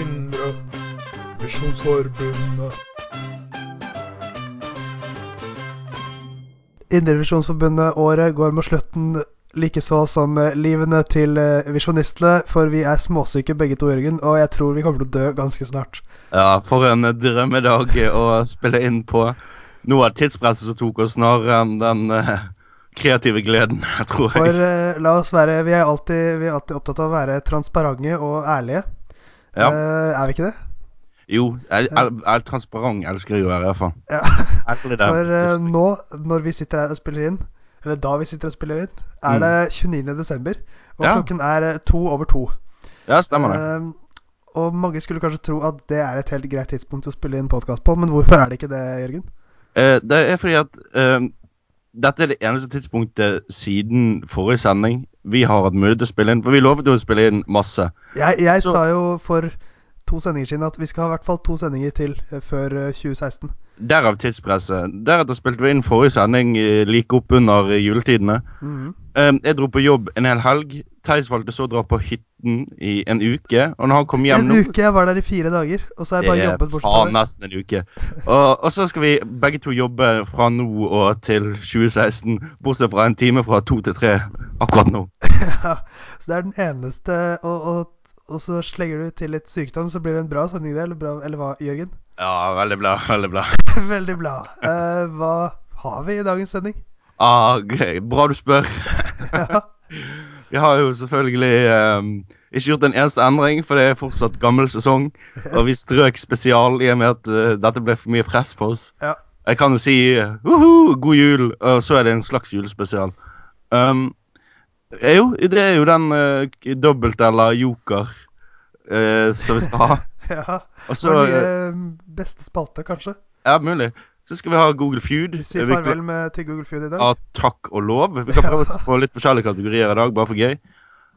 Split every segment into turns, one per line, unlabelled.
Indre Misjonsforbundet.
Indrevisjonsforbundet-året går mot slutten, likeså som eh, livene til eh, visjonistene, for vi er småsyke begge to, Jørgen, og jeg tror vi kommer til å dø ganske snart.
Ja, for en eh, drømmedag å spille inn på. Noe av tidspresset som tok oss snarere enn den eh, kreative gleden, tror
For
jeg.
eh, la oss være vi er, alltid, vi er alltid opptatt av å være transparente og ærlige.
Ja.
Eh, er vi ikke det?
Jo, jeg, jeg, jeg, transparent elsker jeg å være, i hvert fall.
Ja.
Ærlig der.
For eh, nå, når vi sitter her og spiller inn, eller da vi sitter og spiller inn, er
Mm.
det 29. desember, og
Ja.
klokken er eh, to over to.
Ja, stemmer det.
Eh, og mange skulle kanskje tro at det er et helt greit tidspunkt å spille inn podkast på, men hvorfor er det ikke det, Jørgen?
Eh, det er fordi at eh, dette er det eneste tidspunktet siden forrige sending vi har hatt mulighet til å spille inn, for vi lovet jo å spille inn masse.
Jeg, jeg
Så-
sa jo for to sendinger siden at vi skal ha i hvert fall to sendinger til eh, før eh, 2016.
Derav tidspresset. Deretter spilte vi inn forrige sending eh, like opp under eh, juletidene.
Mhm.
Eh, jeg dro på jobb en hel helg. Theis valgte så å dra på hytten i en uke. Og når han kom hjem
En
nå
uke! Jeg var der i fire dager, og så har jeg bare jobbet bort fra
faen
det.
nesten en uke. Og, og så skal vi begge to jobbe fra nå og til 2016. Bortsett fra en time fra to til tre akkurat nå.
Så det er den eneste Og, og, og så slenger du til litt sykdom, så blir det en bra sending, det. Eller, bra, eller hva, Jørgen?
Ja, veldig bra. Veldig bra.
Veldig bra. Eh, hva har vi i dagens sending?
Ah, gøy. Bra du spør.
Ja.
Vi har jo selvfølgelig ehm, ikke gjort en eneste endring, for det er fortsatt gammel sesong. Og vi strøk spesial i og med at eh, dette ble for mye press på oss.
Ja.
Jeg kan jo si eh, «Woho, god jul, og så er det en slags julespesial. Um, eh, jo, det er jo den eh, k- dobbelt eller joker eh, som vi skal ha.
ja.
Og så
Vår nye
eh,
eh, beste spalte, kanskje.
Ja, mulig. Så skal vi ha Google Feud.
Vi
Eh,
sier
vi kla-
farvel med, til Google Feud i dag.
Ja, takk og lov. Vi kan prøve oss på litt forskjellige kategorier i dag, bare for gøy.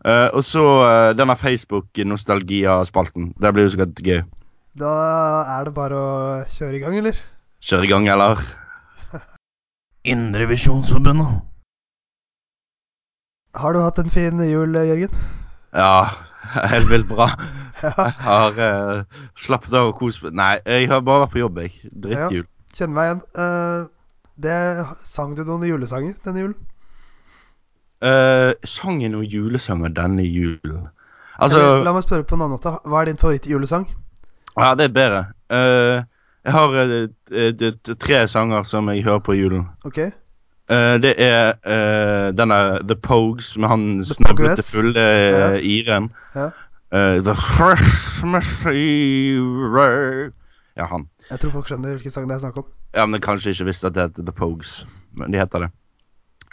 Eh, og så eh, denne Facebook-nostalgia-spalten. Det blir jo sikkert gøy.
Da er det bare å kjøre i gang, eller?
Kjøre i gang, eller?
Indrevisjonsforbundet.
Har du hatt en fin jul, Jørgen?
Ja, helt vilt bra.
Ja.
Jeg har eh, slappet av og kost meg. Nei, jeg har bare vært på jobb, jeg. Drittjul.
Kjenner meg igjen. Eh, det Sang du noen julesanger denne julen?
Eh, sang jeg noen julesanger denne julen?
eller,
Altså,
la meg spørre på en annen måte. Hva er din favorittjulesang?
ja, det er bedre. Eh, jeg har eh, t- t- t- tre sanger som jeg hører på i julen.
Ok?
Eh, det er eh, den der The Pogues med han
Pogues?
snobbete fulle
Ja.
uh, iren.
Ja.
Eh, the Christmas Eve Ja, han.
Jeg tror folk skjønner hvilken sang det er snakk om.
Ja, men kanskje ikke visste at det heter The Pogues. Men de heter det.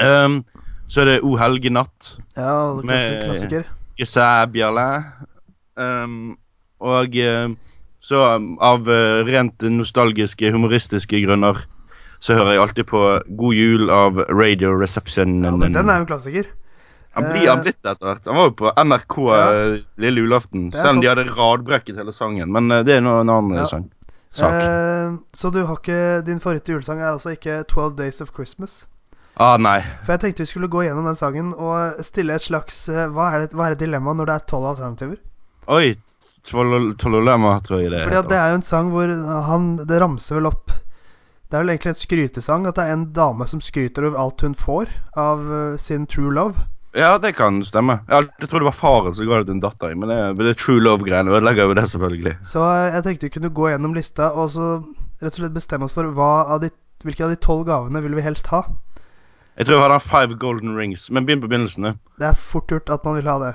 Ehm, så er det O helge natt.
Ja, alle klassi-
Med-
klassiker.
Gesæbjale. Um, og eh, så um, av eh, rent nostalgiske, humoristiske grunner så hører jeg alltid på God jul av Radio Reception.
Ja, men den er jo en klassiker.
Han blir han blitt etter hvert. Han var jo på NRK
Ja.
eh, lille julaften.
Det er
Selv om de
sant.
hadde radbrekket hele sangen. Men eh, det er nå en annen eh,
Ja.
sang. Sak.
Eh, så du har ikke Din favorittjulesang er altså ikke 12 Days of Christmas?
ah, nei.
For jeg tenkte vi skulle gå gjennom den sangen og stille et slags eh, Hva er, det, hva er dilemmaet når det er tolv alternativer?
Oi. Tolol- Tololema, tror jeg det
Fordi at det er jo en sang hvor han Det ramser vel opp Det er vel egentlig en skrytesang at det er en dame som skryter over alt hun får av eh, sin true love.
Ja, det kan stemme. Jeg alltid trodde det var faren som ga det til en datter. Men det, men det true love-greiene ødelegger jo det, selvfølgelig.
Så eh, jeg tenkte vi kunne gå gjennom lista og så rett og slett bestemme oss for hva av de, hvilke av de tolv gavene vil vi helst ha.
Jeg tror jeg hadde Five Golden Rings, men begynn på begynnelsen. du.
Det er fort gjort at man vil ha det.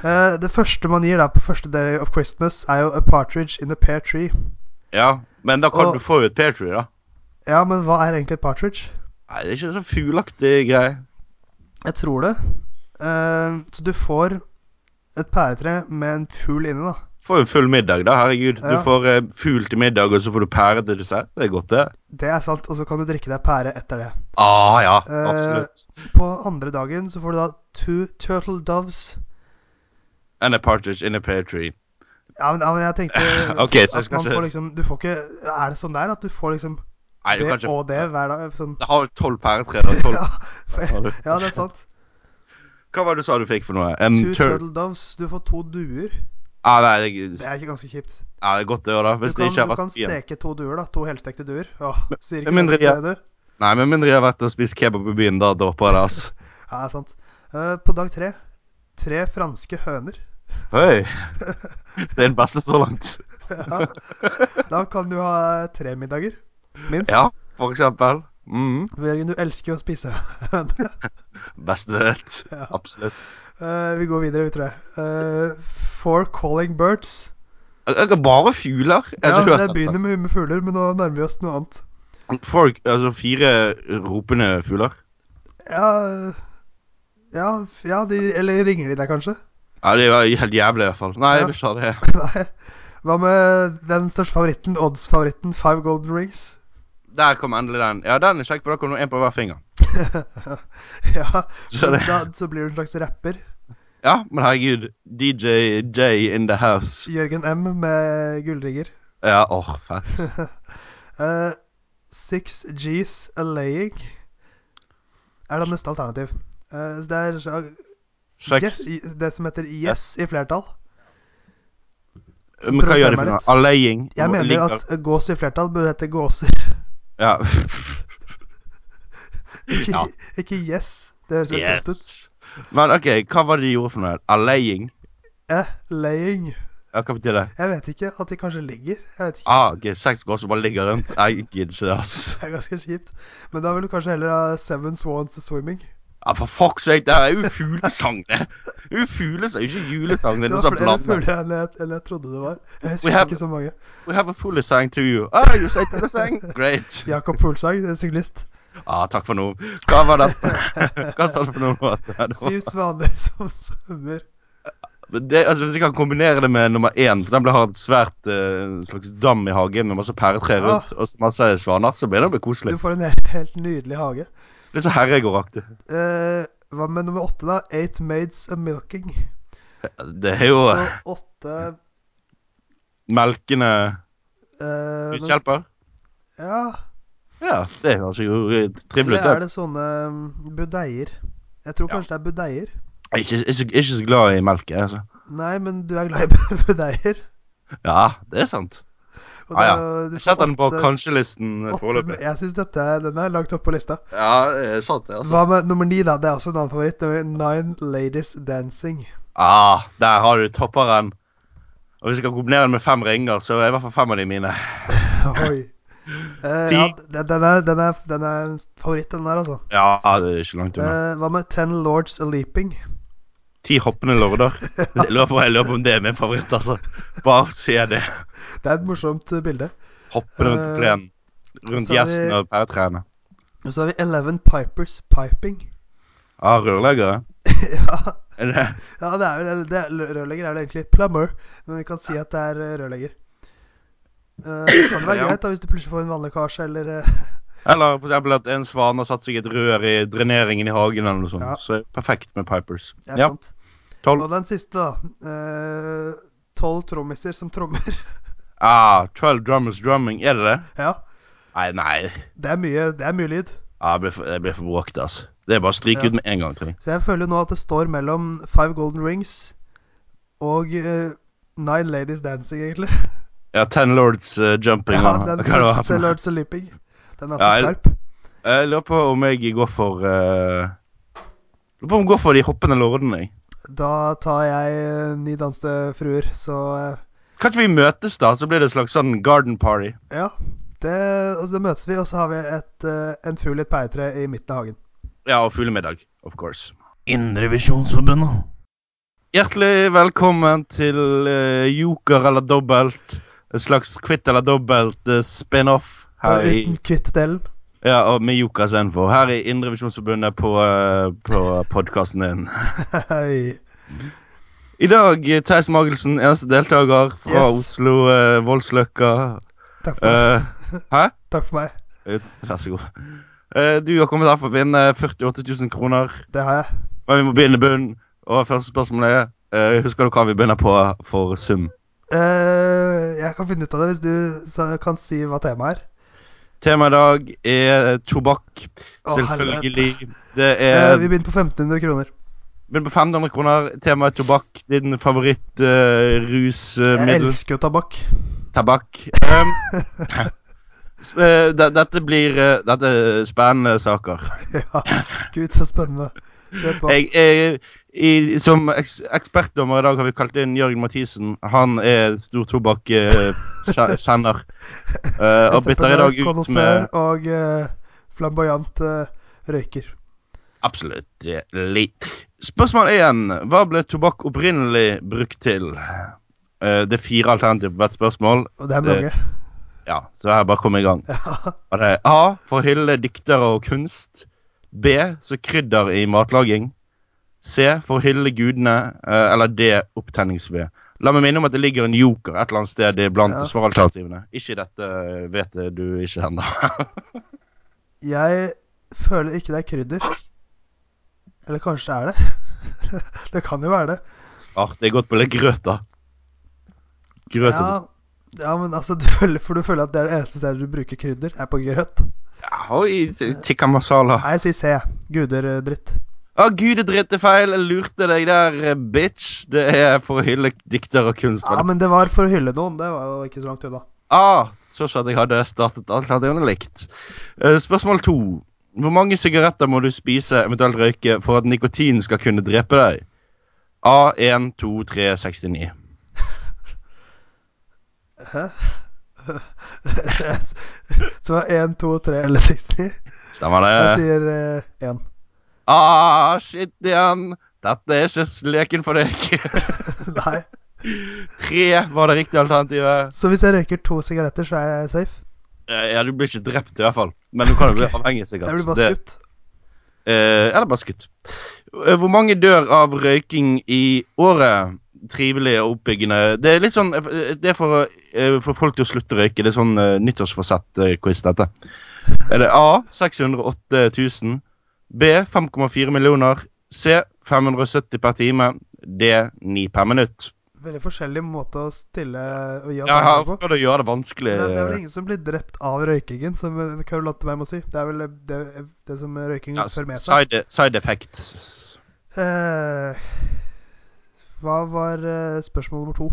Eh, det første man gir da på første day of Christmas, er jo A Partridge in a Pear Tree.
Ja, men da kan
Og-
du få jo et pear tree, da.
Ja, men hva er egentlig et partridge?
Nei, det er ikke så fugleaktig greie.
Jeg tror det. Eh, så du får et pæretre med en fugl inni, da.
Får jo full middag, da. Herregud.
Ja.
Du får eh, fugl til middag, og så får du pære til dessert. Det er godt, det.
Det er sant, og så kan du drikke deg pære etter det.
Ah, ja.
Eh,
Absolutt.
På andre dagen så får du da two turtle doves.
And a partridge in a pear tree.
Ja, men, ja, men jeg tenkte
Ok, så jeg
at
skal
man
ikke-
får liksom Du får ikke Er det sånn der at du får liksom
Nei, du
det
kan ikke
og det hver dag? Sånn.
Jeg har tolv pæretre, da. Tolv.
Ja, ja, det er sant.
Hva var det du sa du fikk for noe? En
Two
tur...
turtle doves. Du får to duer.
Ja, nei, jeg,
Det er ikke ganske kjipt.
ja, det er godt det òg, da.
Du
Hvis
kan,
det ikke
du
har
kan
vært igjen.
steke to duer, da. To helstekte duer. Åh, sier ikke
Med mindre
noe til det, du.
Nei, med mindre jeg har vært og spist kebab i byen, da dropper jeg det, altså.
Ja, det er sant. Eh, på dag tre tre franske høner.
Oi. Det er den beste så langt.
Ja. Da kan du ha tre middager, minst.
Ja, for eksempel.
Mm.
Mhm.
Jørgen, du elsker jo å spise høner.
Beste jeg vet.
Ja.
Absolutt.
Eh, vi går videre, vi tror jeg. Eh, Four calling birds.
Jeg- jeg- Bare fugler. Jeg har sånn.
Ja,
ikke hørt
det
den
begynner med, med fugler, men nå nærmer vi oss noe annet.
sangen. Folk, altså fire ropende fugler.
Ja, eh, ja, f- ja de, eller ringer de deg kanskje?
Ja, det var helt jævlig i hvert fall. Nei, jeg
Ja.
vil ikke ha det.
Nei. Hva med den største favoritten, odds-favoritten, Five Golden Rings?
Der kom endelig den. Ja, den er kjekk, for da kom det en på hver finger.
ja,
Så det,
da, så blir du en slags rapper.
ja, men herregud. DJ J in the house.
Jørgen M med gullrigger.
Ja, åh, fett.
Eh, six G's a laying er da neste alternativ. Eh, så det er så- yes,
Kjeks.
i- det som heter yes i flertall. Så
Men hva
prøv å
gjør
se
det for
meg
noe?
litt.
Allaying?
Jeg
Hvor
mener
ligger-
at gås i flertall burde hete gåser.
Ja.
Ikke,
Ja.
ikke yes. Det høres helt dumt ut.
Yes. Men OK, hva var det de gjorde for noe? Allaying?
Eh, laying.
Ja, hva betyr det?
Jeg vet ikke. At de kanskje ligger. Jeg vet ikke.
Ah, ok, Seks går som bare ligger rundt. Jeg gidder ikke det, ass.
Det er ganske kjipt. Men da vil du kanskje heller ha Seven Swans Swimming.
Ja, for fuck's sake, det er jo fuglesang, det. Det er jo fuglesang, ikke julesang. Det
Det
er noe
var
sånt
flere
blandet.
fugler enn jeg, enn jeg trodde det var. Jeg
We
husker
have-
ikke så mange.
We have a fuglesang to you. Ah, you say fuglesang? Great.
Jakob Fuglsang, en syklist.
Ah, takk for nå. Hva var dette? Hva sa du for noe? Det,
Syv svaner som svømmer.
det, altså, hvis jeg kan kombinere det med nummer én, for den ble har et svært eh, slags dam i hagen med masse pæretrær rundt
Ah.
og så masse svaner, så blir det bli
Du
koselig.
får en helt, helt nydelig hage.
Det er så herregårdaktig.
Eh, hva med nummer åtte, da? Eight Maids a Milking.
Det er jo
Så åtte
melkende
eh, men-
hushjelper.
Ja.
Ja, det høres jo eh, trivelig
Eller er
ut. det.
det sånne mm, budeier? Jeg tror
Ja.
kanskje det er budeier.
Jeg er ikke, ikke, så- ikke så glad i melk, jeg, altså.
Nei, men du er glad i budeier.
Ja, det er sant.
Og
Ah, Ja, ja.
da- du
Jeg
får
setter den på
åtte-
kanskje-listen
åtte-
foreløpig.
Jeg syns dette er- den er langt oppe på lista.
Ja, det er sant, det, altså.
Hva med nummer ni, da? Det er også en annen favoritt. Det er Nine Ladies Dancing.
Ah, der har du topperen. Og hvis jeg kan kombinere den med fem ringer, så er i hvert fall fem av de mine.
Oi. Eh,
Ti.
ja, den, den, er, den, er, den er en favoritt, den der, altså.
Ja, det er ikke langt unna.
Eh, hva med Ten Lords a Leaping?
Ti hoppende lorder. Jeg lurer på, jeg lurer på om det er min favoritt, altså. Bare se det.
Det er et morsomt eh, bilde.
Hoppende rundt på
Eh,
plenen. Rundt
så har vi-
gjesten og pæretrærne.
Og så har vi Eleven Pipers Piping.
Ah, rørleggere?
ja,
Er det
ja, det er vel det, er- Rørlegger er vel egentlig plumber, men vi kan si at det er eh, rørlegger. Eh, det kan det være
Ja.
greit da hvis du plutselig får en vannlekkasje eller eh,
Eller for eksempel at en svan har satt seg i et rør i dreneringen i hagen eller noe sånt.
Ja.
Så er det perfekt med pipers.
det er
Ja,
sant.
tolv.
Og den siste, da. eh, Tolv trommiser som trommer.
Ah, 12 drummers drumming, er det det?
ja,
Nei, nei.
det er mye, det er mye lyd.
Ah, jeg blir for, jeg blir for bråkete, altså. Det er bare å stryke
Ja.
ut med en gang, tror jeg.
Så jeg føler nå at det står mellom Five Golden Rings og eh, Nine Ladies Dancing, egentlig.
Ja, Ten Lords eh, Jumping.
Ja,
og-
den
hva det var for
Ten
noe?
Lords and Leaping. Den er
Ja,
så
jeg-
skarp.
Jeg lurer på om jeg går for eh, Lurer på om jeg går for de hoppende lordene. jeg.
Da tar jeg eh, Ni danste fruer, så eh,
Kan ikke vi møtes, da? Så blir det et slags sånn garden party.
eh, ja. Det, og så møtes vi, og så har vi et, eh, en fugl i et pæretre i midten av hagen.
Ja, og fuglemiddag, of course.
Indrevisjonsforbundet.
Hjertelig velkommen til eh, Joker eller dobbelt. En slags Kvitt eller dobbelt eh, spin-off. Her
Bare
i,
uten kvitt-delen.
ja, og med Jokers info. Her i Indrevisjonsforbundet på, eh, på podkasten din.
Hei.
I dag, eh, Theis Magelsen, eneste deltaker fra
Yes.
Oslo, eh, Voldsløkka.
Takk for,
Eh,
takk for meg.
Ut, Vær så god. Eh, du har kommet her for å vinne 48 000 kroner.
Det har jeg.
Men vi må begynne i bunnen. Og første spørsmål er eh, Husker du hva vi begynner på for sum?
Eh, jeg kan finne ut av det hvis du sa- kan si hva temaet er.
Temaet i dag er tobakk.
Å, helvete.
Selvfølgelig. Det
Eh,
er
vi begynner på 1500 kroner.
Men på 500 kroner, temaet tobakk, din favoritt eh,
Jeg
rusmiddel,
elsker jo tabakk.
tabakk. Um, s- eh, de- dette blir eh, Dette er spennende saker.
Ja, Gud, så spennende. Kjør på.
Jeg, jeg, i, som eks ekspertdommer i dag har vi kalt inn Jørgen Mathisen. Han er stor eh, tobakk-sender. Eh, og bytter i dag ut
Entreprenør,
med
og eh, flamboyant eh, røyker.
absolutt litt. Spørsmål én. Hva ble tobakk opprinnelig brukt til? Eh, det er fire alternativer på hvert spørsmål.
Og det er
Det-
mange.
Ja, så her bare kom i gang.
Ja.
Og det er A. For å hylle diktere og kunst. B. Så krydder i matlaging. C. For å hylle gudene. eh, Eller D. Opptenningsved. La meg minne om at det ligger en joker et eller annet sted blant
Ja.
svaralternativene. Ikke dette vet du ikke ennå.
Jeg føler ikke det er krydder. Eller kanskje det er det? det kan jo være det.
Artig godt på litt grøt, da. Grøt
Ja,
ja.
ja men altså, du føler, for du føler at det er det eneste stedet du bruker krydder, er på grøt.
Oi, tikka masala.
Nei, jeg sier C. Guder eh, dritt.
Å, gud, jeg dritte feil. Jeg lurte deg der, eh, bitch. Det er for å hylle diktere og kunst.
Ja,
var det?
men det var for å hylle noen. Det var jo ikke så langt unna.
Ah, så sa jeg at jeg hadde startet alternativene likt. Eh, spørsmål to. Hvor mange sigaretter må du spise, eventuelt røyke, for at nikotin skal kunne drepe deg? A. 1, 2, 3, 69.
Så det var 1, 2, 3 eller 69.
Stemmer
Jeg
det?
sier eh, 1.
Ah, shit igjen. Dette er ikke leken for deg.
Nei.
Tre var det riktige alternativet.
Så hvis jeg røyker to sigaretter, så er jeg safe?
Eh, Ja, du blir ikke drept, i hvert fall. Men du kan jo bli avhengig, sikkert.
Jeg blir bare
Det-
skutt.
Eh, eller bare skutt. Eh, Hvor mange dør av røyking i året? Trivelig og oppbyggende. Det er litt sånn eh, Det er for, eh, for folk til å slutte å røyke. Det er sånn uh, nyttårsforsett-quiz, dette. Er det A 608 000? B 5,4 millioner? C 570 per time? D 9 per minutt?
Veldig forskjellig måte å stille og gi
Jeg har
alternativ på.
prøvd å gjøre det vanskelig.
Det er, det er vel ingen som blir drept av røykingen, som eh, Karol Latterberg må si. Det er vel eh, det, det som røykingen
Ja,
fører med seg.
side, side effect.
Eh, hva var eh, spørsmål nummer to?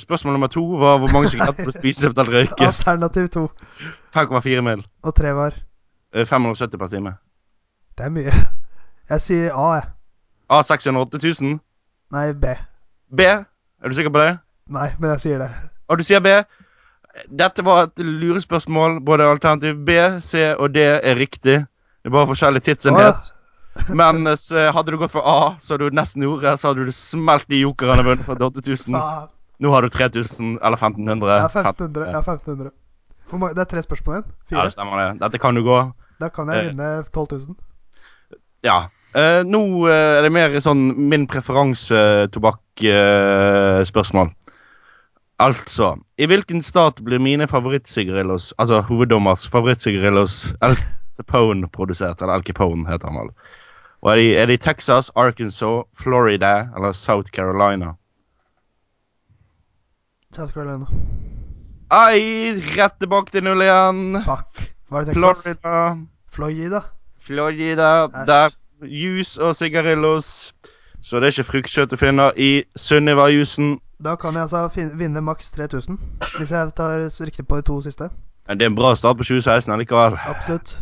Spørsmål nummer to var hvor mange sigaretter du spiser etter å røyke.
Alternativ to
5,4 mill.
og tre var
Eh, 570 per time.
Det er mye. Jeg sier A, jeg.
A 608 000.
Nei, B.
B. Er du sikker på det?
Nei, men jeg sier det.
Og du sier B. Dette var et lurespørsmål. Både alternativ B, C og D er riktig. Det er bare forskjellig tidsenhet. Men eh, så hadde du gått for A, så hadde du nesten gjorde, så hadde du smelt de jokerne og vunnet for 8000.
Ah,
Nå har du 3000 eller 1500.
jeg er 1500. Jeg er 1500. Hvor mange, det er tre spørsmål igjen?
Ja,
Fire?
det stemmer det. Dette kan jo gå.
Da kan
Eh.
jeg vinne 12 000.
Ja. Eh, nå eh, er det mer sånn min preferanse-tobakk-spørsmål. altså I hvilken stat blir mine favorittsigarillos, altså hoveddommers favorittsigarillos Al Capone produsert? Eller Al Capone, heter han vel. Og er de, er de i Texas, Arkansas, Florida eller South Carolina?
South Carolina.
Ai, rett tilbake til null igjen.
Fuck. Var det Texas?
Florida.
Florida.
Florida,
Æsj.
der juice og sigarillos. Så det er ikke fruktkjøtt du finner i Sunniva-jusen.
Da kan jeg altså fin vinne maks 3000, hvis jeg tar s- riktig på de to siste.
Men Det er en bra start på 2016 allikevel.
Absolutt.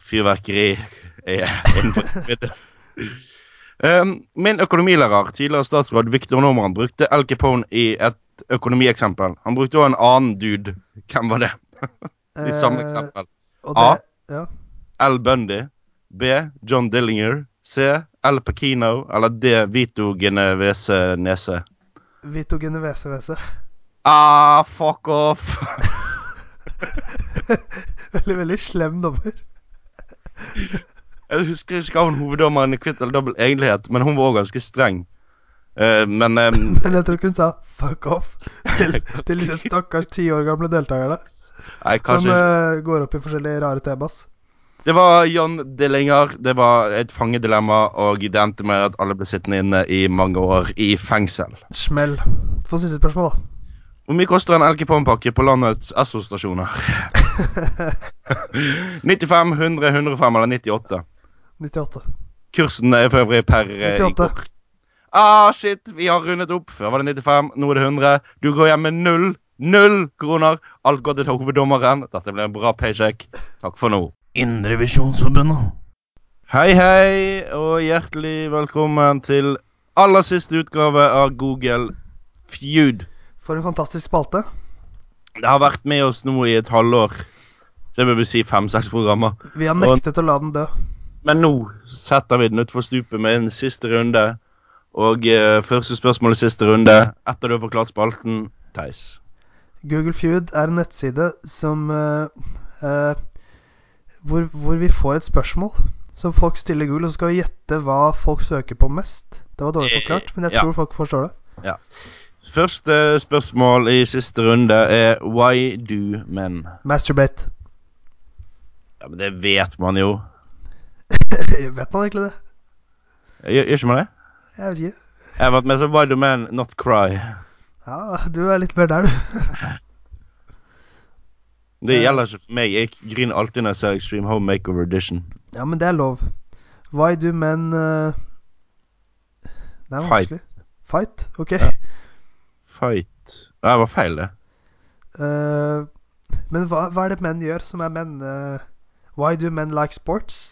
Fyrverkeri er innenfor middag. Um, min økonomilærer, tidligere statsråd Victor Norman, brukte Al Capone i et økonomieksempel. Han brukte òg en annen dude. Hvem var det? I samme
Eh,
eksempel.
Og
A.
det, ja.
Al Bundy. B. John Dillinger. C. Al Pacino. Eller D. Vito Genovese Nese.
Vito Genovese Wese.
Ah, fuck off.
Veldig, veldig slem dommer.
Jeg husker ikke hva hun hoveddommeren i Kvitt eller dobbel egentlig het, men hun var også ganske streng. Eh, men ehm,
Men jeg tror ikke hun sa 'fuck off' til, til disse stakkars ti år gamle deltakerne.
Nei,
Som
kanskje ikke.
eh, går opp i forskjellige rare temas.
Det var John Dillinger. Det var et fangedilemma, og det endte med at alle ble sittende inne i mange år i fengsel.
Smell. Få siste spørsmål, da.
Hvor mye koster en LK Pond-pakke på landets Esso-stasjoner? 95, 100, 105 eller 98?
98.
Kursen er for øvrig per
98.
eh, i går. Ah, shit, vi har rundet opp. Før var det 95, nå er det 100. Du går hjem med null. Null kroner. Alt går til hoveddommeren. Dette ble en bra paycheck. Takk for nå.
Indrevisjonsforbundet.
Hei, hei, og hjertelig velkommen til aller siste utgave av Google Feud.
For en fantastisk spalte.
Det har vært med oss nå i et halvår. Det vil si fem-seks programmer.
Vi har nektet å la den dø.
Men nå setter vi den utfor stupet med en siste runde. Og eh, første spørsmål i siste runde. Etter du har forklart spalten, Theis.
Google Feud er en nettside som eh, eh, hvor, hvor vi får et spørsmål som folk stiller Google, og så skal vi gjette hva folk søker på mest. Det var dårlig
Eh,
forklart, men jeg
ja.
tror folk forstår det.
Første spørsmål i siste runde er Why do men?
Masturbate.
Ja, men det vet man jo.
vet man egentlig det?
Gjør, gjør ikke man det?
Jeg vet ikke.
Jeg har vært med som Why do men not cry.
Ja, du er litt mer der, du.
Det gjelder ikke for meg. Jeg griner alltid når jeg ser Extreme Home Makeover Edition.
Ja, men det er lov. Why do men eh, Det er
Fight.
vanskelig. Fight? Ok.
Ja. Fight Nei, det var feil, det.
Eh, men hva, hva er det menn gjør som er menn? eh, why do men like sports?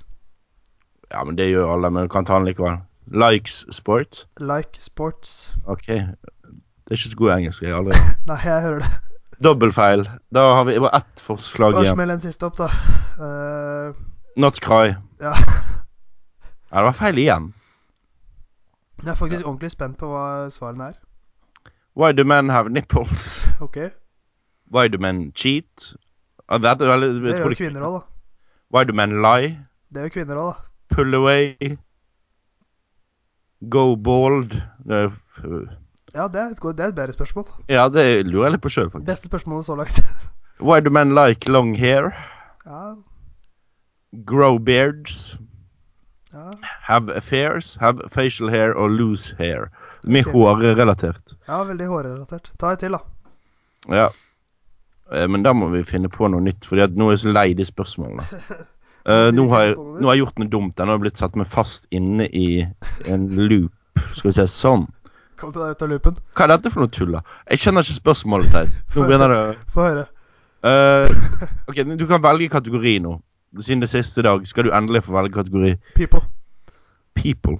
Ja, men det gjør alle, men du kan ta den likevel. Likes sport.
Like sports.
Ok. Det er ikke så god engelsk. jeg aldri har.
Nei, jeg hører det.
Dobbeltfeil. Da har vi bare ett forslag
Bare
igjen.
smell en siste opp, da. Eh,
Not cry.
Ja.
Ja, det var feil igjen.
jeg er faktisk ordentlig spent på hva svarene er.
Why do men have nipples?
Ok,
Why do men cheat? Ja, det er veldig-
Det
jeg tror
gjør
det-
kvinner òg, da.
Why do men lie?
Det gjør kvinner òg, da.
Pull away? Go bald? Det er f-
Ja, det er, et, godt- det er et bedre spørsmål.
Ja, det lurer jeg litt på sjøl, faktisk.
Beste spørsmålet så langt.
Why do men like long hair?
Ja,
Grow beards?
ja.
Have affairs? Have facial hair or lose hair? Mye
Ok.
hårrelatert.
ja veldig hårrelatert. Ta et til, da.
Ja. Eh, Men da må vi finne på noe nytt, Fordi at nå er jeg så lei de spørsmålene. Eh, nå, har jeg, nå har jeg gjort noe dumt. Jeg har jeg blitt satt meg fast inne i en loop. Skal vi se, sånn.
Kom til deg ut av loopen.
Hva er dette for noe tull, da? Jeg skjønner ikke spørsmålet, Theis. Nå begynner det
Få høre.
Eh, Ok, men Du kan velge kategori nå. Siden det er siste dag skal du endelig få velge kategori
People.
people.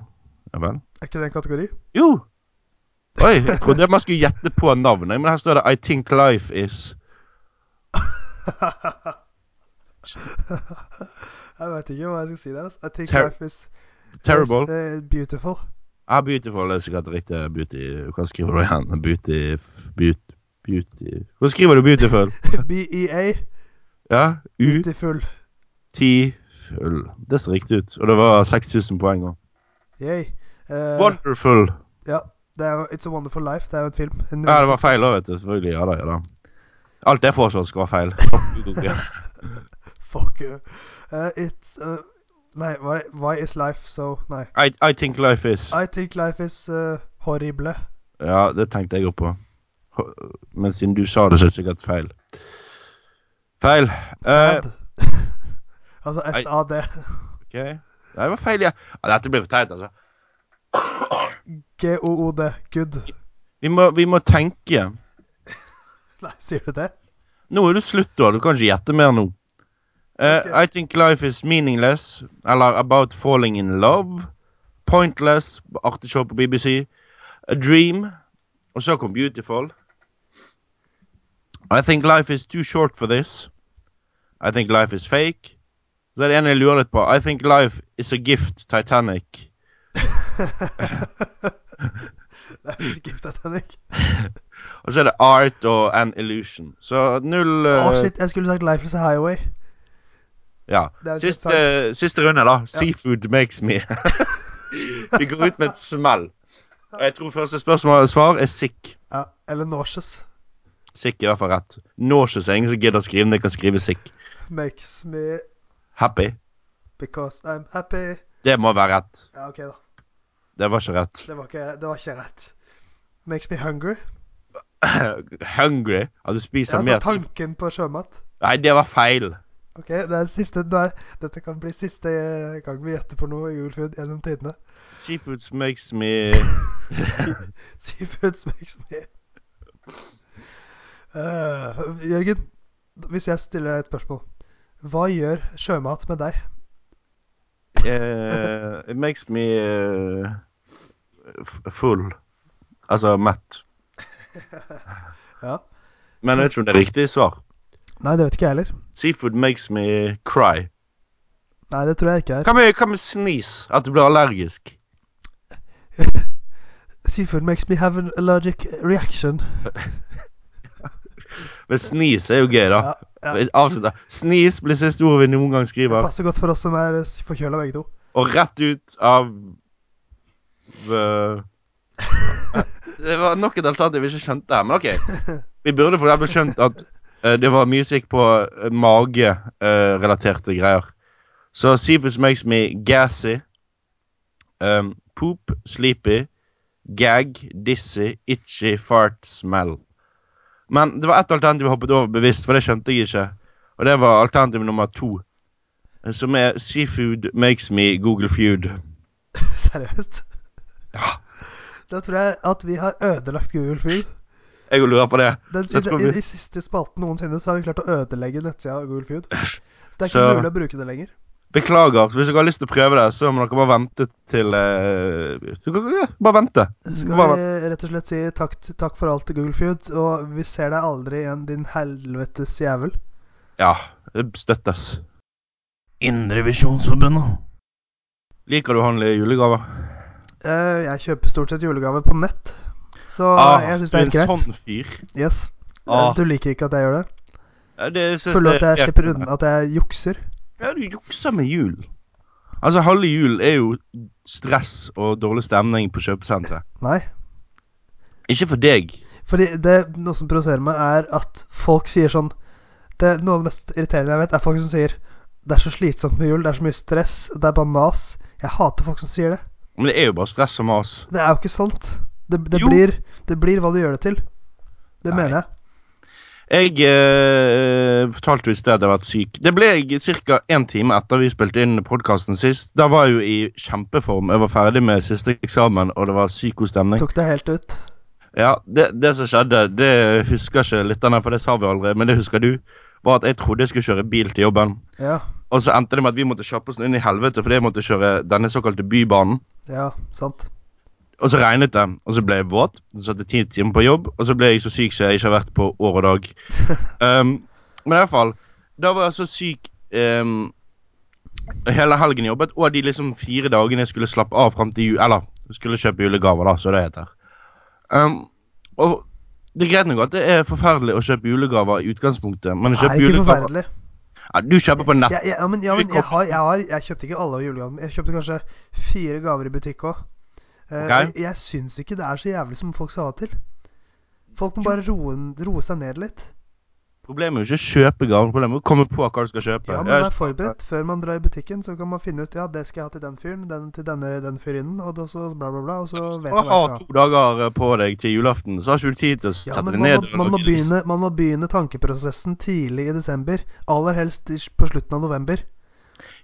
Ja vel?
Er ikke det en kategori?
Jo! Oi, jeg trodde man skulle gjette på navnet, men her står det I think life is
Jeg veit ikke hva jeg skal si der. altså. I think
Ter-
life is,
terrible.
is eh, beautiful.
Ja, beautiful er sikkert riktig. Beauty Hva skriver du igjen? Beauty beauty, beauty. Hva skriver du beautiful?
BEA.
Ja,
E Beautiful.
utiful. Det ser riktig ut. Og det var 6000 poeng òg.
Yay. Eh,
Wonderful.
ja, det er jo It's a Wonderful Life. Det er jo en film. En
Ja, det var feil òg, vet du. Selvfølgelig. Ja da, ja da. Alt jeg foreslår, skal være feil.
Fuck you. Eh, it's eh, Nei, hva er det? Why is life so Nei.
I, I think life is.
I think life is eh, horrible.
Ja, det tenkte jeg òg på. Ho- Men siden du sa det, så er det sikkert feil. Feil.
Sad. altså
I-
SAD.
Ok. Nei, det var feil, ja. ja dette blir for teit, altså.
G-O-O-D. Good.
Vi må, vi må tenke.
Nei, sier du det?
Nå er det slutt, da. Du kan ikke gjette mer nå. Eh,
Ok.
I think life is meaningless. Eller About falling in love. Pointless. Artig show på BBC. A dream. Og så kom Beautiful. I think life is too short for this. I think life is fake. Så er det en jeg lurer litt på. I think life is a gift, Titanic.
Det er ikke gift, Titanic.
Og så er det art og an illusion. Så null
Å,
eh,
shit. Jeg skulle sagt Life is a Highway.
Ja.
Det er jo
Siste, siste runde, da. Seafood makes me. Vi går ut med et smell. Og jeg tror første spørsmål og svar er sick.
Ja, eller Nauseous.
Sick er i hvert fall rett. Nauseous er ingen som gidder å skrive men jeg kan skrive sick.
Makes me
Happy.
because I'm happy.
Det må være rett.
Ja, OK, da.
Det var ikke rett.
Det var ikke, det var ikke rett. Makes me hungry.
Hungry? At du spiser
Altså
mer
tanken på sjømat.
Nei, det var feil.
Ok, det er siste, det er, Dette kan bli siste gang vi gjetter på noe i Julfood gjennom tidene.
Seafoods makes me
Seafoods makes me Eh, Jørgen, hvis jeg stiller deg et spørsmål Hva gjør sjømat med deg?
eh, It makes me eh, f- full. Altså mett.
Ja.
Men jeg vet ikke om det er riktig svar.
Nei, det vet ikke jeg heller.
Seafood makes me cry.
Nei, det tror jeg ikke er.
Hva med, hva med snis? At du blir allergisk?
Seafood makes me have an allergic reaction.
Men snis er jo gøy, da.
Ja, ja.
Avslutt, da. Snis blir siste ordet vi noen gang
Det
skriver.
passer godt for oss som er forkjøla begge to.
Og rett ut av eh, Det var nok et alternativ vi ikke skjønte her, men OK. Vi burde for eksempel skjønt at eh, det var mye som gikk på eh, magerelaterte greier. Så seafood makes me gassy. Um, poop, sleepy, gag, dizzy, itchy, fart, smell. Men det var ett alternativ jeg hoppet over bevisst, for det skjønte jeg ikke. Og det var alternativ nummer to. Som er Seafood makes me Google feud.
Seriøst.
Ja.
Da tror jeg at vi har ødelagt Google Food.
Jeg lurer på det.
Den,
Så jeg tror
i, i,
vi-
I siste spalten noensinne så har vi klart å ødelegge nettsida av Google Food. Så det er ikke
Så-
mulig å bruke det lenger.
Beklager. så Hvis dere har lyst til å prøve det, så må dere bare vente til eh, du kan, ja, Bare vente.
Skal
Bare vente.
vi rett og slett si takk, takk for alt til Google Food, og vi ser deg aldri igjen, din helvetes jævel.
Ja. det Støttes.
Indrevisjonsforbundet.
Liker du å handle julegaver?
Eh, jeg kjøper stort sett julegaver på nett, så jeg syns det er helt
Ah, du er
greit.
en sånn fyr.
Yes.
Ah.
Du liker ikke at jeg gjør det?
Ja, det synes
Føler du at
det er
jeg
helt-
slipper unna, at jeg jukser?
Ja, du jukser med jul. Altså, halve jul er jo stress og dårlig stemning på kjøpesenteret.
Nei.
Ikke for deg.
Fordi det noe som provoserer meg, er at folk sier sånn det, Noe av det mest irriterende jeg vet, er folk som sier Det er så slitsomt med jul, det er så mye stress, det er bare mas. Jeg hater folk som sier det.
Men det er jo bare stress og mas.
Det er jo ikke sant. Det, det,
Jo.
blir, det blir hva du gjør det til. Det
Nei.
mener jeg.
Jeg eh, fortalte jo i sted at jeg har vært syk. Det ble jeg ca. én time etter vi spilte inn podkasten sist. Da var jeg jo i kjempeform. Jeg var ferdig med siste eksamen, og det var psykostemning.
Tok det helt ut.
Ja, det, det som skjedde, det husker ikke lytterne, for det sa vi aldri, men det husker du, var at jeg trodde jeg skulle kjøre bil til jobben.
Ja.
Og så endte det med at vi måtte kjappe oss inn i helvete fordi jeg måtte kjøre denne såkalte bybanen.
Ja, sant.
Og så regnet det, og så ble jeg våt. Så satt jeg ti timer på jobb, og så ble jeg så syk som jeg ikke har vært på år og dag. Um, men i hvert fall, da var jeg så syk um, hele helgen jobbet, og de liksom fire dagene jeg skulle slappe av fram til jul, eller skulle kjøpe julegaver, da, så det heter. Um, og det er greit nok at det er forferdelig å kjøpe julegaver i utgangspunktet,
Det
men å
er
kjøpe
ikke
julegaver
forferdelig.
ja, Du kjøper på nett.
Ja, ja, ja, men, ja, men jeg, har, jeg, har, jeg kjøpte ikke alle julegavene. Jeg kjøpte kanskje fire gaver i butikk òg.
Ok.
Jeg, jeg syns ikke det er så jævlig som folk sa det til. Folk må bare roe, roe seg ned litt.
Problemet er jo ikke å kjøpe gaver, problemet er å komme på hva du skal kjøpe.
Ja, men
Jeg-
vær forberedt. Før man drar i butikken, så kan man finne ut Ja, det skal jeg ha til den fyren, den til denne den fyrinnen, og da så bla, bla, bla, og så vet
Og
man hva jeg
har
skal ha.
to dager eh, på deg til julaften, så har ikke du tid til å
Ja,
sette
men
deg
man,
ned.
må, man, må
og lage liste.
begynne, man må begynne tankeprosessen tidlig i desember. Aller helst i- på slutten av november.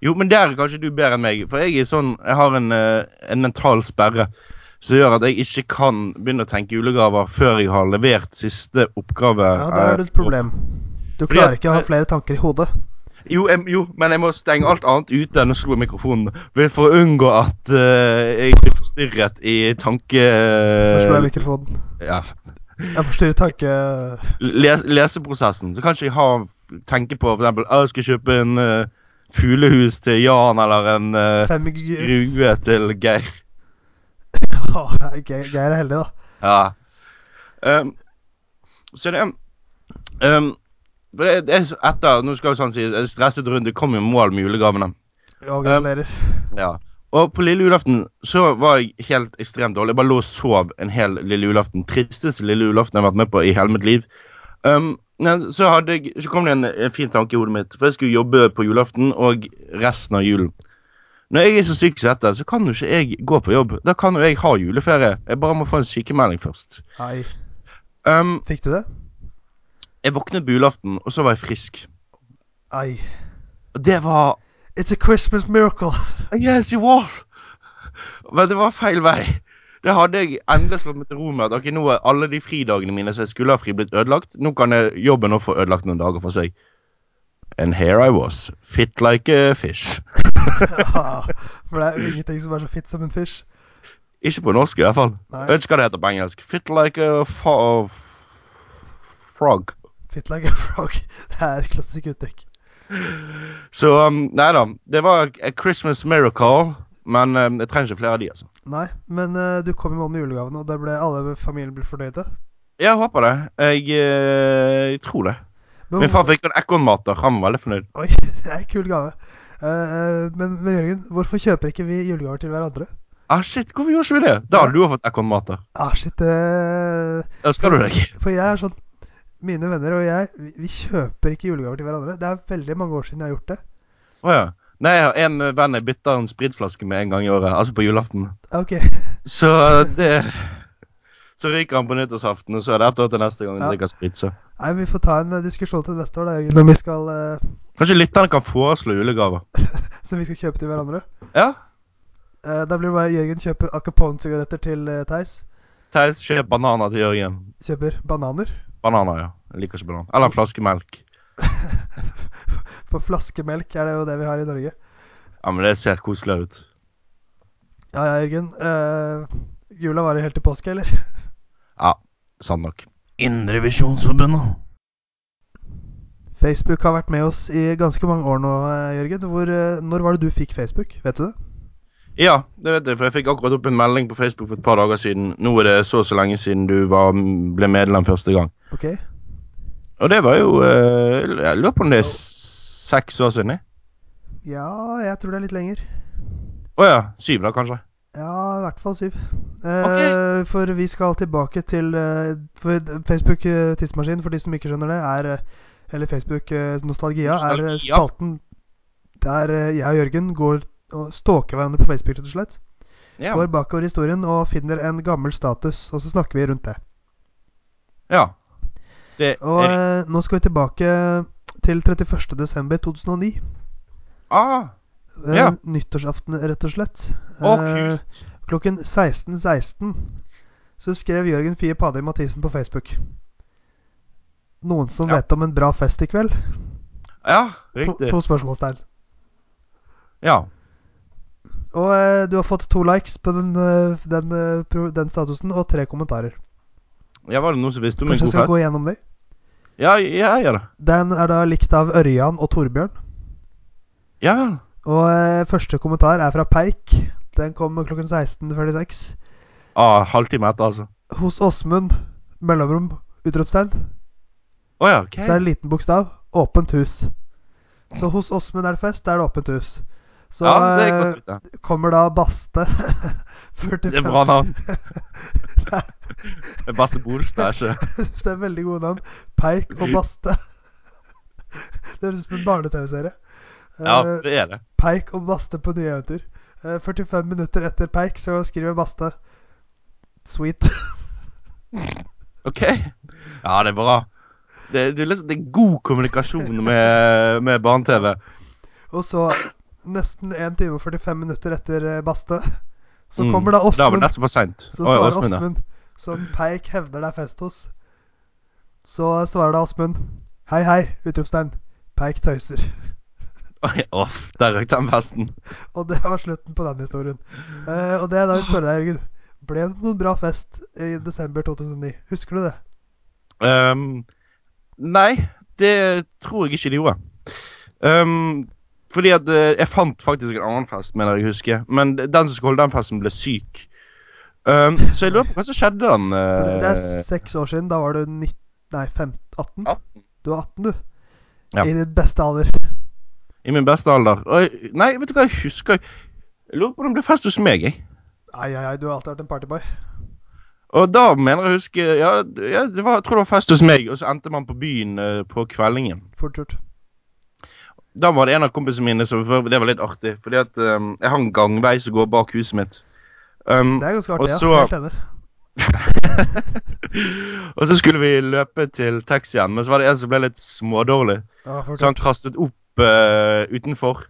Jo, men der er kanskje du bedre enn meg, for jeg er sånn, jeg har en, eh, en mental sperre som gjør at jeg ikke kan begynne å tenke julegaver før jeg har levert siste oppgave.
Ja, der
eh,
er det et problem. Du
Fordi
klarer
at-
ikke å ha flere tanker i hodet.
Jo, jeg, jo, men jeg må stenge alt annet ute enn å slå i mikrofonen for- for å unngå at eh, jeg blir forstyrret i tanke...
Da slår jeg
Eh,
mikrofonen.
Ja,
Jeg forstyrrer tanke...
les, leseprosessen, så kanskje jeg har tenke på for eksempel, «Å, jeg skal kjøpe en eh, fuglehus til Jan, eller en eh,
Fem g-
skrue til Geir.
Åh, Ge- Geir er heldig, da.
Ja. Um, så det um, for det, det er så- etter, nå skal jo sånn si, en stresset runde, kom i mål med julegavene. Um,
Ja, gratulerer.
Ja. Og på lille julaften så var jeg helt ekstremt dårlig. Jeg bare lå og sov en hel lille julaften. Tristeste lille julaften jeg har vært med på i hele mitt liv. Um, men så, hadde jeg, så kom det en, en fin tanke i hodet mitt, for jeg skulle jobbe på julaften og resten av julen. Når jeg er så syk som dette, så kan jo ikke jeg gå på jobb. Da kan jo jeg ha juleferie. Jeg bare må få en sykemelding først.
Hei.
Um,
Fikk du det?
jeg våknet på julaften, og så var jeg frisk.
Ai.
Og det var
It's a Christmas miracle.
Yes, it was! Men det var feil vei. Det hadde jeg endelig slått meg til ro med. At ok, nå er alle de fridagene mine som jeg skulle ha fri, blitt ødelagt. Nå kan jeg jobben også få ødelagt noen dager for seg. And here I was, fit like a fish.
Ja, For det er jo ingenting som er så fitt som en fish.
Ikke på norsk, i hvert fall. Jeg
Nei,
vet ikke hva det heter på engelsk. Fit like a fa f- frog.
fit like a frog. Det er et klassisk uttrykk.
Så um, nei da. Det var a Christmas miracle, men um, jeg trenger ikke flere av de, altså.
Nei, men eh, du kom i mål med julegavene, og der ble alle familien ble fornøyde.
Jeg håper det. Jeg, eh, jeg tror det.
Men,
Min far fikk en ekornmater. Han var veldig fornøyd.
Oi, det er en kul gave. Eh, eh, men, men Jørgen, hvorfor kjøper ikke vi julegaver til hverandre?
Ah, shit, hvorfor gjorde ikke vi det? Da hadde du jo fått ekornmater.
Ah, shit, eh,
Ønsker du deg?
For jeg er sånn Mine venner og jeg, vi, vi kjøper ikke julegaver til hverandre. Det er veldig mange år siden jeg har gjort det.
Å ja. Nei, jeg har en eh, venn jeg bytter en spritflaske med en gang i året. Altså på julaften.
Ok,
Så det Så ryker han på nyttårsaften, og så er det ett år til neste gang vi
Ja.
drikker sprit. så.
Nei, Vi får ta en eh, diskusjon til neste år da, Jørgen, som vi skal, eh,
Kanskje lytterne kan foreslå julegaver?
som vi skal kjøpe til hverandre.
Ja.
Eh, da blir det bare Jørgen kjøper Al Capone-sigaretter til eh, Theis.
Theis, kjøp bananer til Jørgen.
Kjøper bananer
Bananer, ja. Jeg liker ikke banan. Eller en flaske melk.
for flaskemelk, er det jo det vi har i Norge.
Ja, men det ser koselig ut.
Ja ja, Jørgen. eh, jula varer helt til påske, eller?
Sant nok.
Indrevisjonsforbundet.
Facebook har vært med oss i ganske mange år nå, eh, Jørgen. Hvor, eh, når var det du fikk Facebook? Vet du det?
Ja, det vet jeg, for jeg fikk akkurat opp en melding på Facebook for et par dager siden. Nå er det så og så lenge siden du var, ble medlem første gang.
Ok.
Og det var jo eh, Jeg lurer på om det er s- seks år siden? jeg.
Ja, jeg tror det er litt lenger.
Å ja. Syv, da, kanskje.
Ja, i hvert fall syv. Eh, For vi skal tilbake til eh, for Facebook eh, Tidsmaskin, for de som ikke skjønner det, er eh, Eller Facebook eh, Nostalgia, er eh,
Nostalgia.
spalten der eh, jeg og Jørgen går og stalker hverandre på Facebook, rett og slett.
Ja.
Går bakover i historien og finner en gammel status, og så snakker vi rundt det.
ja. Det
Og
er
eh, nå skal vi tilbake til 31.12.2009.
ah,
Eh,
Ja.
Nyttårsaften, rett og slett.
Å,
Eh,
kult.
Klokken 16.16 så skrev Jørgen Fie Padøy Mathisen på Facebook. Noen som
Ja.
vet om en bra fest i kveld?
Ja,
To,
riktig.
to spørsmålstegn.
Ja.
Og eh, du har fått to likes på den, eh, den, eh, pro- den statusen, og tre kommentarer.
ja, var det noen som visste om en
Kanskje jeg
god
skal
fest?
gå gjennom de?
Ja, ja, ja da.
Den er da likt av Ørjan og Torbjørn.
Ja.
Og eh, første kommentar er fra Peik. Den kom klokken 16.46.
Ah, halvtime etter, altså.
Hos Åsmund. Mellomrom. Utropstegn.
Å ja. ok.
Så er det en liten bokstav. Åpent hus. Så hos Åsmund er det fest, der er det åpent hus. Så
ja, det er
eh,
godt å vite.
kommer da Baste. 45.
Det er bra navn. Det er Baste Bolstad, ikke
det er veldig gode navn. Peik og Baste. det høres ut som en barne-TV-serie. Eh,
Ja, det er det.
Peik og Baste på nye eventyr. Eh, 45 minutter etter Peik så skriver Baste Sweet.
OK. Ja, det er bra. Det, det, er, liksom, det er god kommunikasjon med, med barne-TV.
Og så nesten 1 time og 45 minutter etter eh, Baste, så
Mm.
kommer da
Da var det
Åsmund.
nesten for seint.
Så svarer Åsmund, som Peik hevder det er fest hos. Så svarer da Åsmund Hei, hei! Utropstegn. Peik tøyser.
Å, der røk den festen.
Og det var slutten på den historien. Eh, og det er da vi spør deg, Jørgen. Ble det noen bra fest i desember 2009? Husker du det?
Ehm, nei, det tror jeg ikke de gjorde. Ehm, fordi at eh, jeg fant faktisk en annen fest, mener jeg å huske. Men den som skulle holde den festen, ble syk. Ehm, så jeg lurer på hva som skjedde den
For det, det er
eh,
seks år siden. Da var du 19, nei, 15, 18?
18.
Du var 18, du.
Ja.
I ditt beste alder.
i min beste alder. Og, jeg- nei, vet du hva jeg husker? Jeg lurer på om det ble fest hos meg, jeg.
Ai, ai, ai, du har alltid vært en partyboy.
Og da mener jeg å huske Ja, d- ja det var, jeg tror det var fest hos meg, og så endte man på byen eh, på kveldingen.
Fort gjort.
Da var det en av kompisene mine som før, Det var litt artig, fordi at um, jeg har en gangvei som går bak huset mitt. Um,
Det er ganske
Og
artig,
så-
ja. Helt enig.
og så skulle vi løpe til taxien, men så var det en som ble litt smådårlig.
Ja, fort
Så han
gjort.
kastet opp eh, utenfor.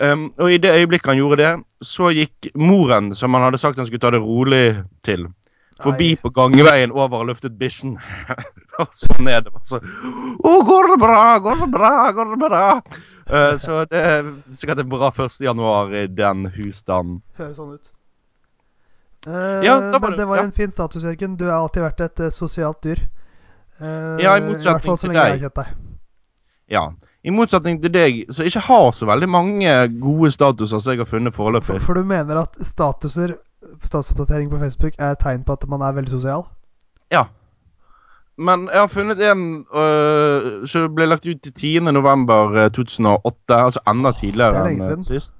Em, og i det øyeblikket han gjorde det, så gikk moren, som han hadde sagt han skulle ta det rolig til, forbi på gangveien over og løftet bikkjen. og så ned. Og så Å, går det bra? Går det bra? Går det bra? Eh, så det er sikkert en bra 1. januar i den husstanden.
Nei, høres sånn ut. Eh,
Ja, da var
men
det-
det var
ja.
en fin status, Jørgen. Du har alltid vært et eh, sosialt dyr. Eh,
Ja, i
I hvert
motsetning
fall så
til
lenge jeg
deg.
har kjent deg.
Ja. I motsetning til deg, som ikke har så veldig mange gode statuser som jeg har funnet foreløpig.
For, for du mener at statuser Statusoppdatering på Facebook er tegn på at man er veldig sosial?
Men jeg har funnet en øh, som ble lagt ut 10. november eh, 2008, altså enda tidligere
lenge
enn eh,
siden.
sist.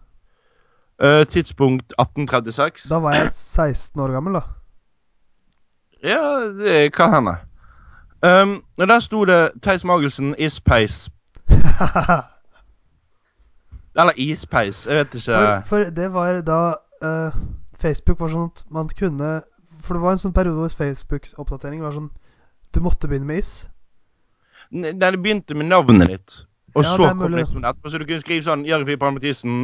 Eh, tidspunkt 1836.
Da var jeg 16 år gammel, da.
Ja, det kan hende. Um, og der sto det Theis Magelsen ispeis. Eller ispeis, jeg vet ikke.
For, for det var da eh, Facebook var sånn at man kunne For det var en sånn periode hvor Facebook-oppdatering var sånn Du måtte begynne med is.
Nei, det begynte med navnet ditt. Og
Ja, det
så
er
kom
mulig.
liksom det etterpå, så du kunne skrive sånn Jørgen Fripan Mathisen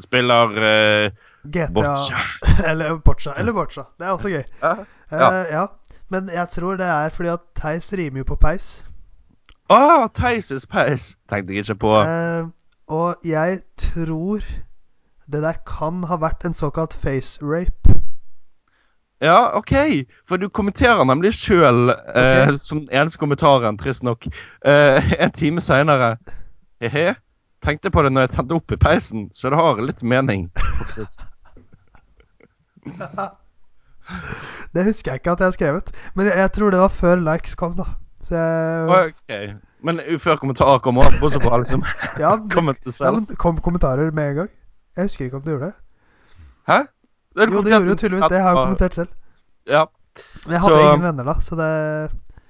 spiller eh,
GTA
boccia.
eller Boccia. Eller Boccia. Det er også gøy.
Ja.
Eh,
Ja.
ja. Men jeg tror det er fordi at Theis rimer jo på peis.
Ah, Theis ispeis! Tenkte jeg ikke på.
Eh, og jeg tror det der kan ha vært en såkalt face rape.
Ja, OK. For du kommenterer nemlig sjøl, eh, som eneste kommentaren, trist nok, eh, en time seinere. He-he. Tenkte på det når jeg tente opp i peisen, så det har litt mening. faktisk.
Det husker jeg ikke at jeg har skrevet. Men jeg, jeg tror det var før likes kom, da. Så jeg,
OK. Men før kommentarer kommer opp, og så får jeg liksom
ja, det,
kommentere
ja,
selv.
men det kom kommentarer med en gang. Jeg husker ikke om det gjorde det.
Hæ? Det
Jo, det gjorde jo tydeligvis det. Jeg har jo kommentert selv.
Ja.
Men jeg hadde
Så-
ingen venner da, så det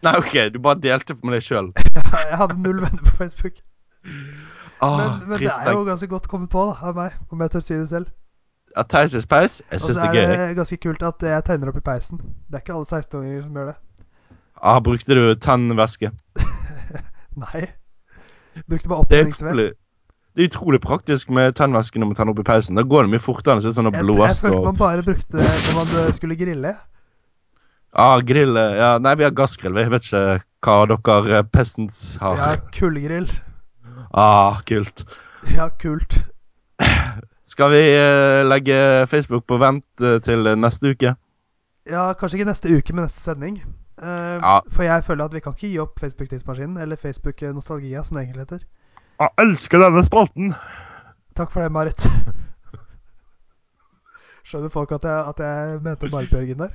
Nei, OK. Du bare delte med deg sjøl.
Jeg hadde null venner på Facebook. Men,
Ah,
men det
trist
er
dag.
jo ganske godt kommet på da, av meg, om jeg tør si det selv.
At Theis er peis? Jeg
Og
syns
så
det
er
er gøy.
det ganske kult at jeg tegner opp i peisen. Det er ikke alle 16-åringer som gjør det.
Ah, brukte du tannvæske?
Nei. Brukte bare
Det er
opptenningsved.
utrolig Det er utrolig praktisk med tennvæske når man tenner opp i peisen. Da går det mye fortere. Det ser ut som det er
Jeg, jeg
blås
følte
og
man bare brukte det når man eh, skulle grille.
ah, grill eh, ja, Nei, vi har gassgrill. vi. Jeg vet ikke hva dere eh, peasants har.
Ja, kullgrill.
Ah, kult.
Ja, kult.
Skal vi eh, legge Facebook på vent eh, til eh, neste uke?
Ja, kanskje ikke neste uke, men neste sending. Eh,
Ja.
For jeg føler at vi kan ikke gi opp Facebook-tidsmaskinen, eller Facebook-nostalgia, som det egentlig heter.
Jeg elsker denne spalten!
Takk for det, Marit. Skjønner folk at jeg, at jeg mente Marit Bjørgen der?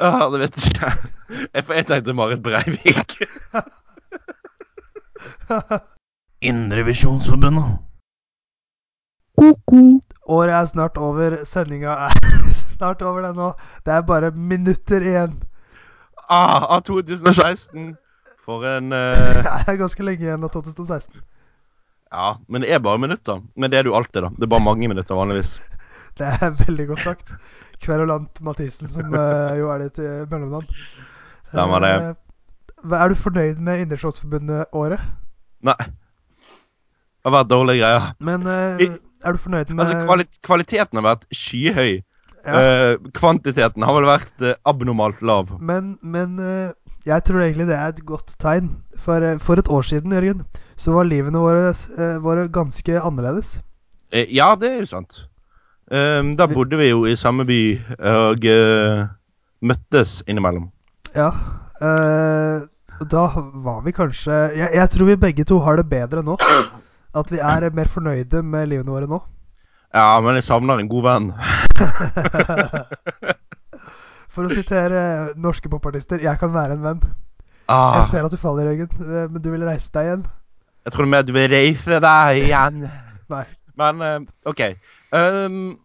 Ja, Ah, det vet jeg ikke. Jeg, for jeg tenkte Marit Breivik.
Indrevisjonsforbundet.
Ko-ko.
Året er snart over. Sendinga er snart over, det nå. Det er bare minutter igjen.
Ah, av 2016. For en eh,
Det er ganske lenge igjen av 2016.
Ja, men det er bare minutter. Men det er det jo alltid, da. Det er bare mange minutter vanligvis.
Det er veldig godt sagt. Kverulant Mathisen, som eh, jo er ditt eh, mellomnavn.
Stemmer det.
Eh, hva- er du fornøyd med Inderslottsforbundet-året?
Nei. Det har vært dårlige greier.
Men eh,
I-
er du fornøyd med
Altså, kvali kvaliteten har vært skyhøy.
Ja.
Eh, kvantiteten har vel vært eh, abnormalt lav.
Men, men eh, jeg tror egentlig det er et godt tegn. For, eh, for et år siden, Jørgen, så var livene våre, eh, våre ganske annerledes.
Eh, ja, det er jo sant. Ehm, da bodde vi jo i samme by og eh, møttes innimellom.
Ja. eh, da var vi kanskje jeg, jeg tror vi begge to har det bedre nå. At vi er mer fornøyde med livene våre nå.
Ja, men jeg savner en god venn.
For å sitere eh, norske popartister 'Jeg kan være en venn'. Jeg
Ah,
ser at du faller, Jørgen, eh, men du vil reise deg igjen.
jeg tror mer du vil reise deg igjen.
Nei.
Men eh, OK. Ehm,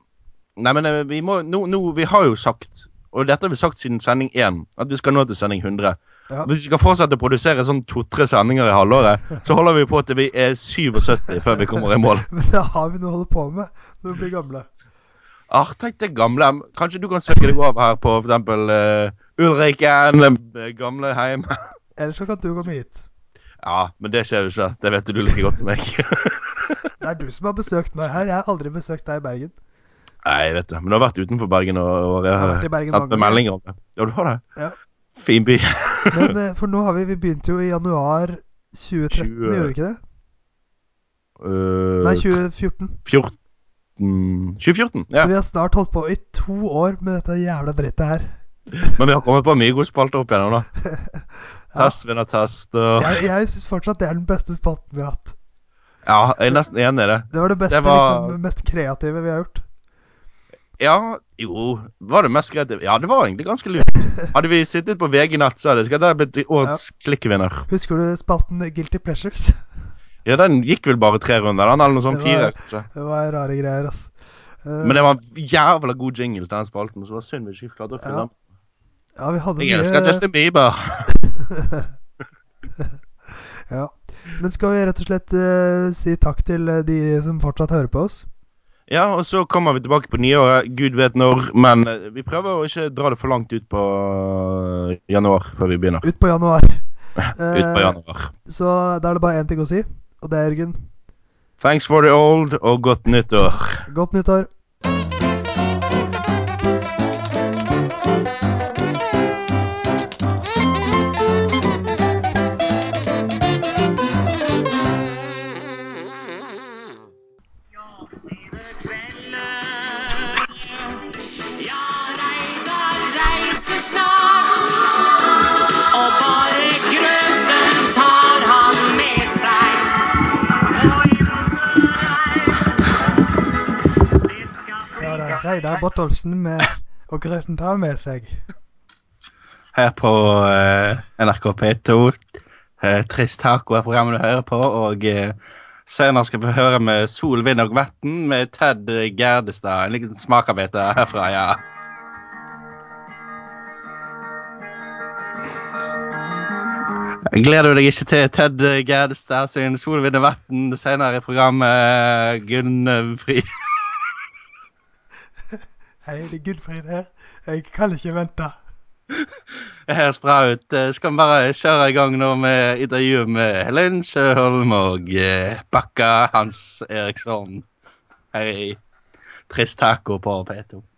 nei, men eh, vi må nå, nå, Vi har jo sagt, og dette har vi sagt siden sending 1, at vi skal nå til sending 100.
Ja.
Hvis vi skal fortsette å produsere sånn to-tre sendinger i halvåret, så holder vi på til vi er 77 før vi kommer i mål.
Men det har vi noe å holde på med når vi blir gamle.
Ah, tenk det gamle. Kanskje du kan søke deg over her på f.eks. Uh, Ulriken, eh, gamleheim.
Ellers så kan du komme hit.
Ja, men det skjer jo ikke. Det vet du like godt som meg.
Det er du som har besøkt meg her. Jeg har aldri besøkt deg i Bergen.
Nei, jeg vet det. Men du har vært utenfor Bergen og, og jeg
har
har
vært i Bergen
sendt
mange
meg meldinger om det. Ja, du har det?
Ja.
Fin by.
Men eh, for nå har vi Vi begynte jo i januar 2013,
Tjue-
gjorde vi ikke det?
Uh,
Nei, 2014.
14 2014. Ja.
Så vi har snart holdt på i to år med dette jævla drittet her.
Men vi har kommet på mye god spalte opp igjennom, da. Test vinner test og
Jeg, jeg syns fortsatt det er den beste spalten vi har hatt.
Ja, jeg er nesten enig i det.
Det var det beste,
Det var-
liksom, mest kreative vi har gjort.
Ja, jo Var det mest kreativt? Ja, det var egentlig ganske lurt. Hadde vi sittet på VG Nett, så hadde det sikkert blitt årets klikkvinner.
Husker du spalten Guilty Pleasures?
Ja, den gikk vel bare tre runder, den, eller noe sånt.
Det var-
Fire. kanskje.
Det var rare greier, ass. Eh,
Men det var en jævla god jingle til den spalten, så det var synd vi ikke klarte å
Ja,
fylle den.
ja, vi hadde
Jeg elsker
mye
Justin Bieber.
ja. Men skal vi rett og slett eh, si takk til eh, de som fortsatt hører på oss?
Ja, og så kommer vi tilbake på nyåret, gud vet når, men eh, vi prøver å ikke dra det for langt ut på eh, januar før vi begynner.
Ut på januar.
Ut på
Eh,
januar.
så da er det bare én ting å si, og det er Jørgen.
Thanks for the old, og godt nyttår.
Godt nyttår.
Ja, Reidar reiser snart, og bare grøten tar han med seg. Og hjemme det skal
Ja, det
bli
er Reidar Botolfsen med Og grøten tar med seg.
her på eh, NRK P2. Eh, Trist Taco er programmet du hører på, og eh, senere skal vi høre med Sol, vind og vann med Ted Gerdestad. En liten smakarbeider herfra, ja. Gleder du deg ikke til Ted Gerdestad sin Sol, vind og vann senere i programmet, Gunnfrid?
Hei, det er Gunnfrid her. Jeg kan ikke vente.
Her Sprout, eh, skal vi bare kjøre i gang nå med intervjuet med Helen Sjøholm og eh, Bakka Hans Eriksson her i Trist Taco på P2.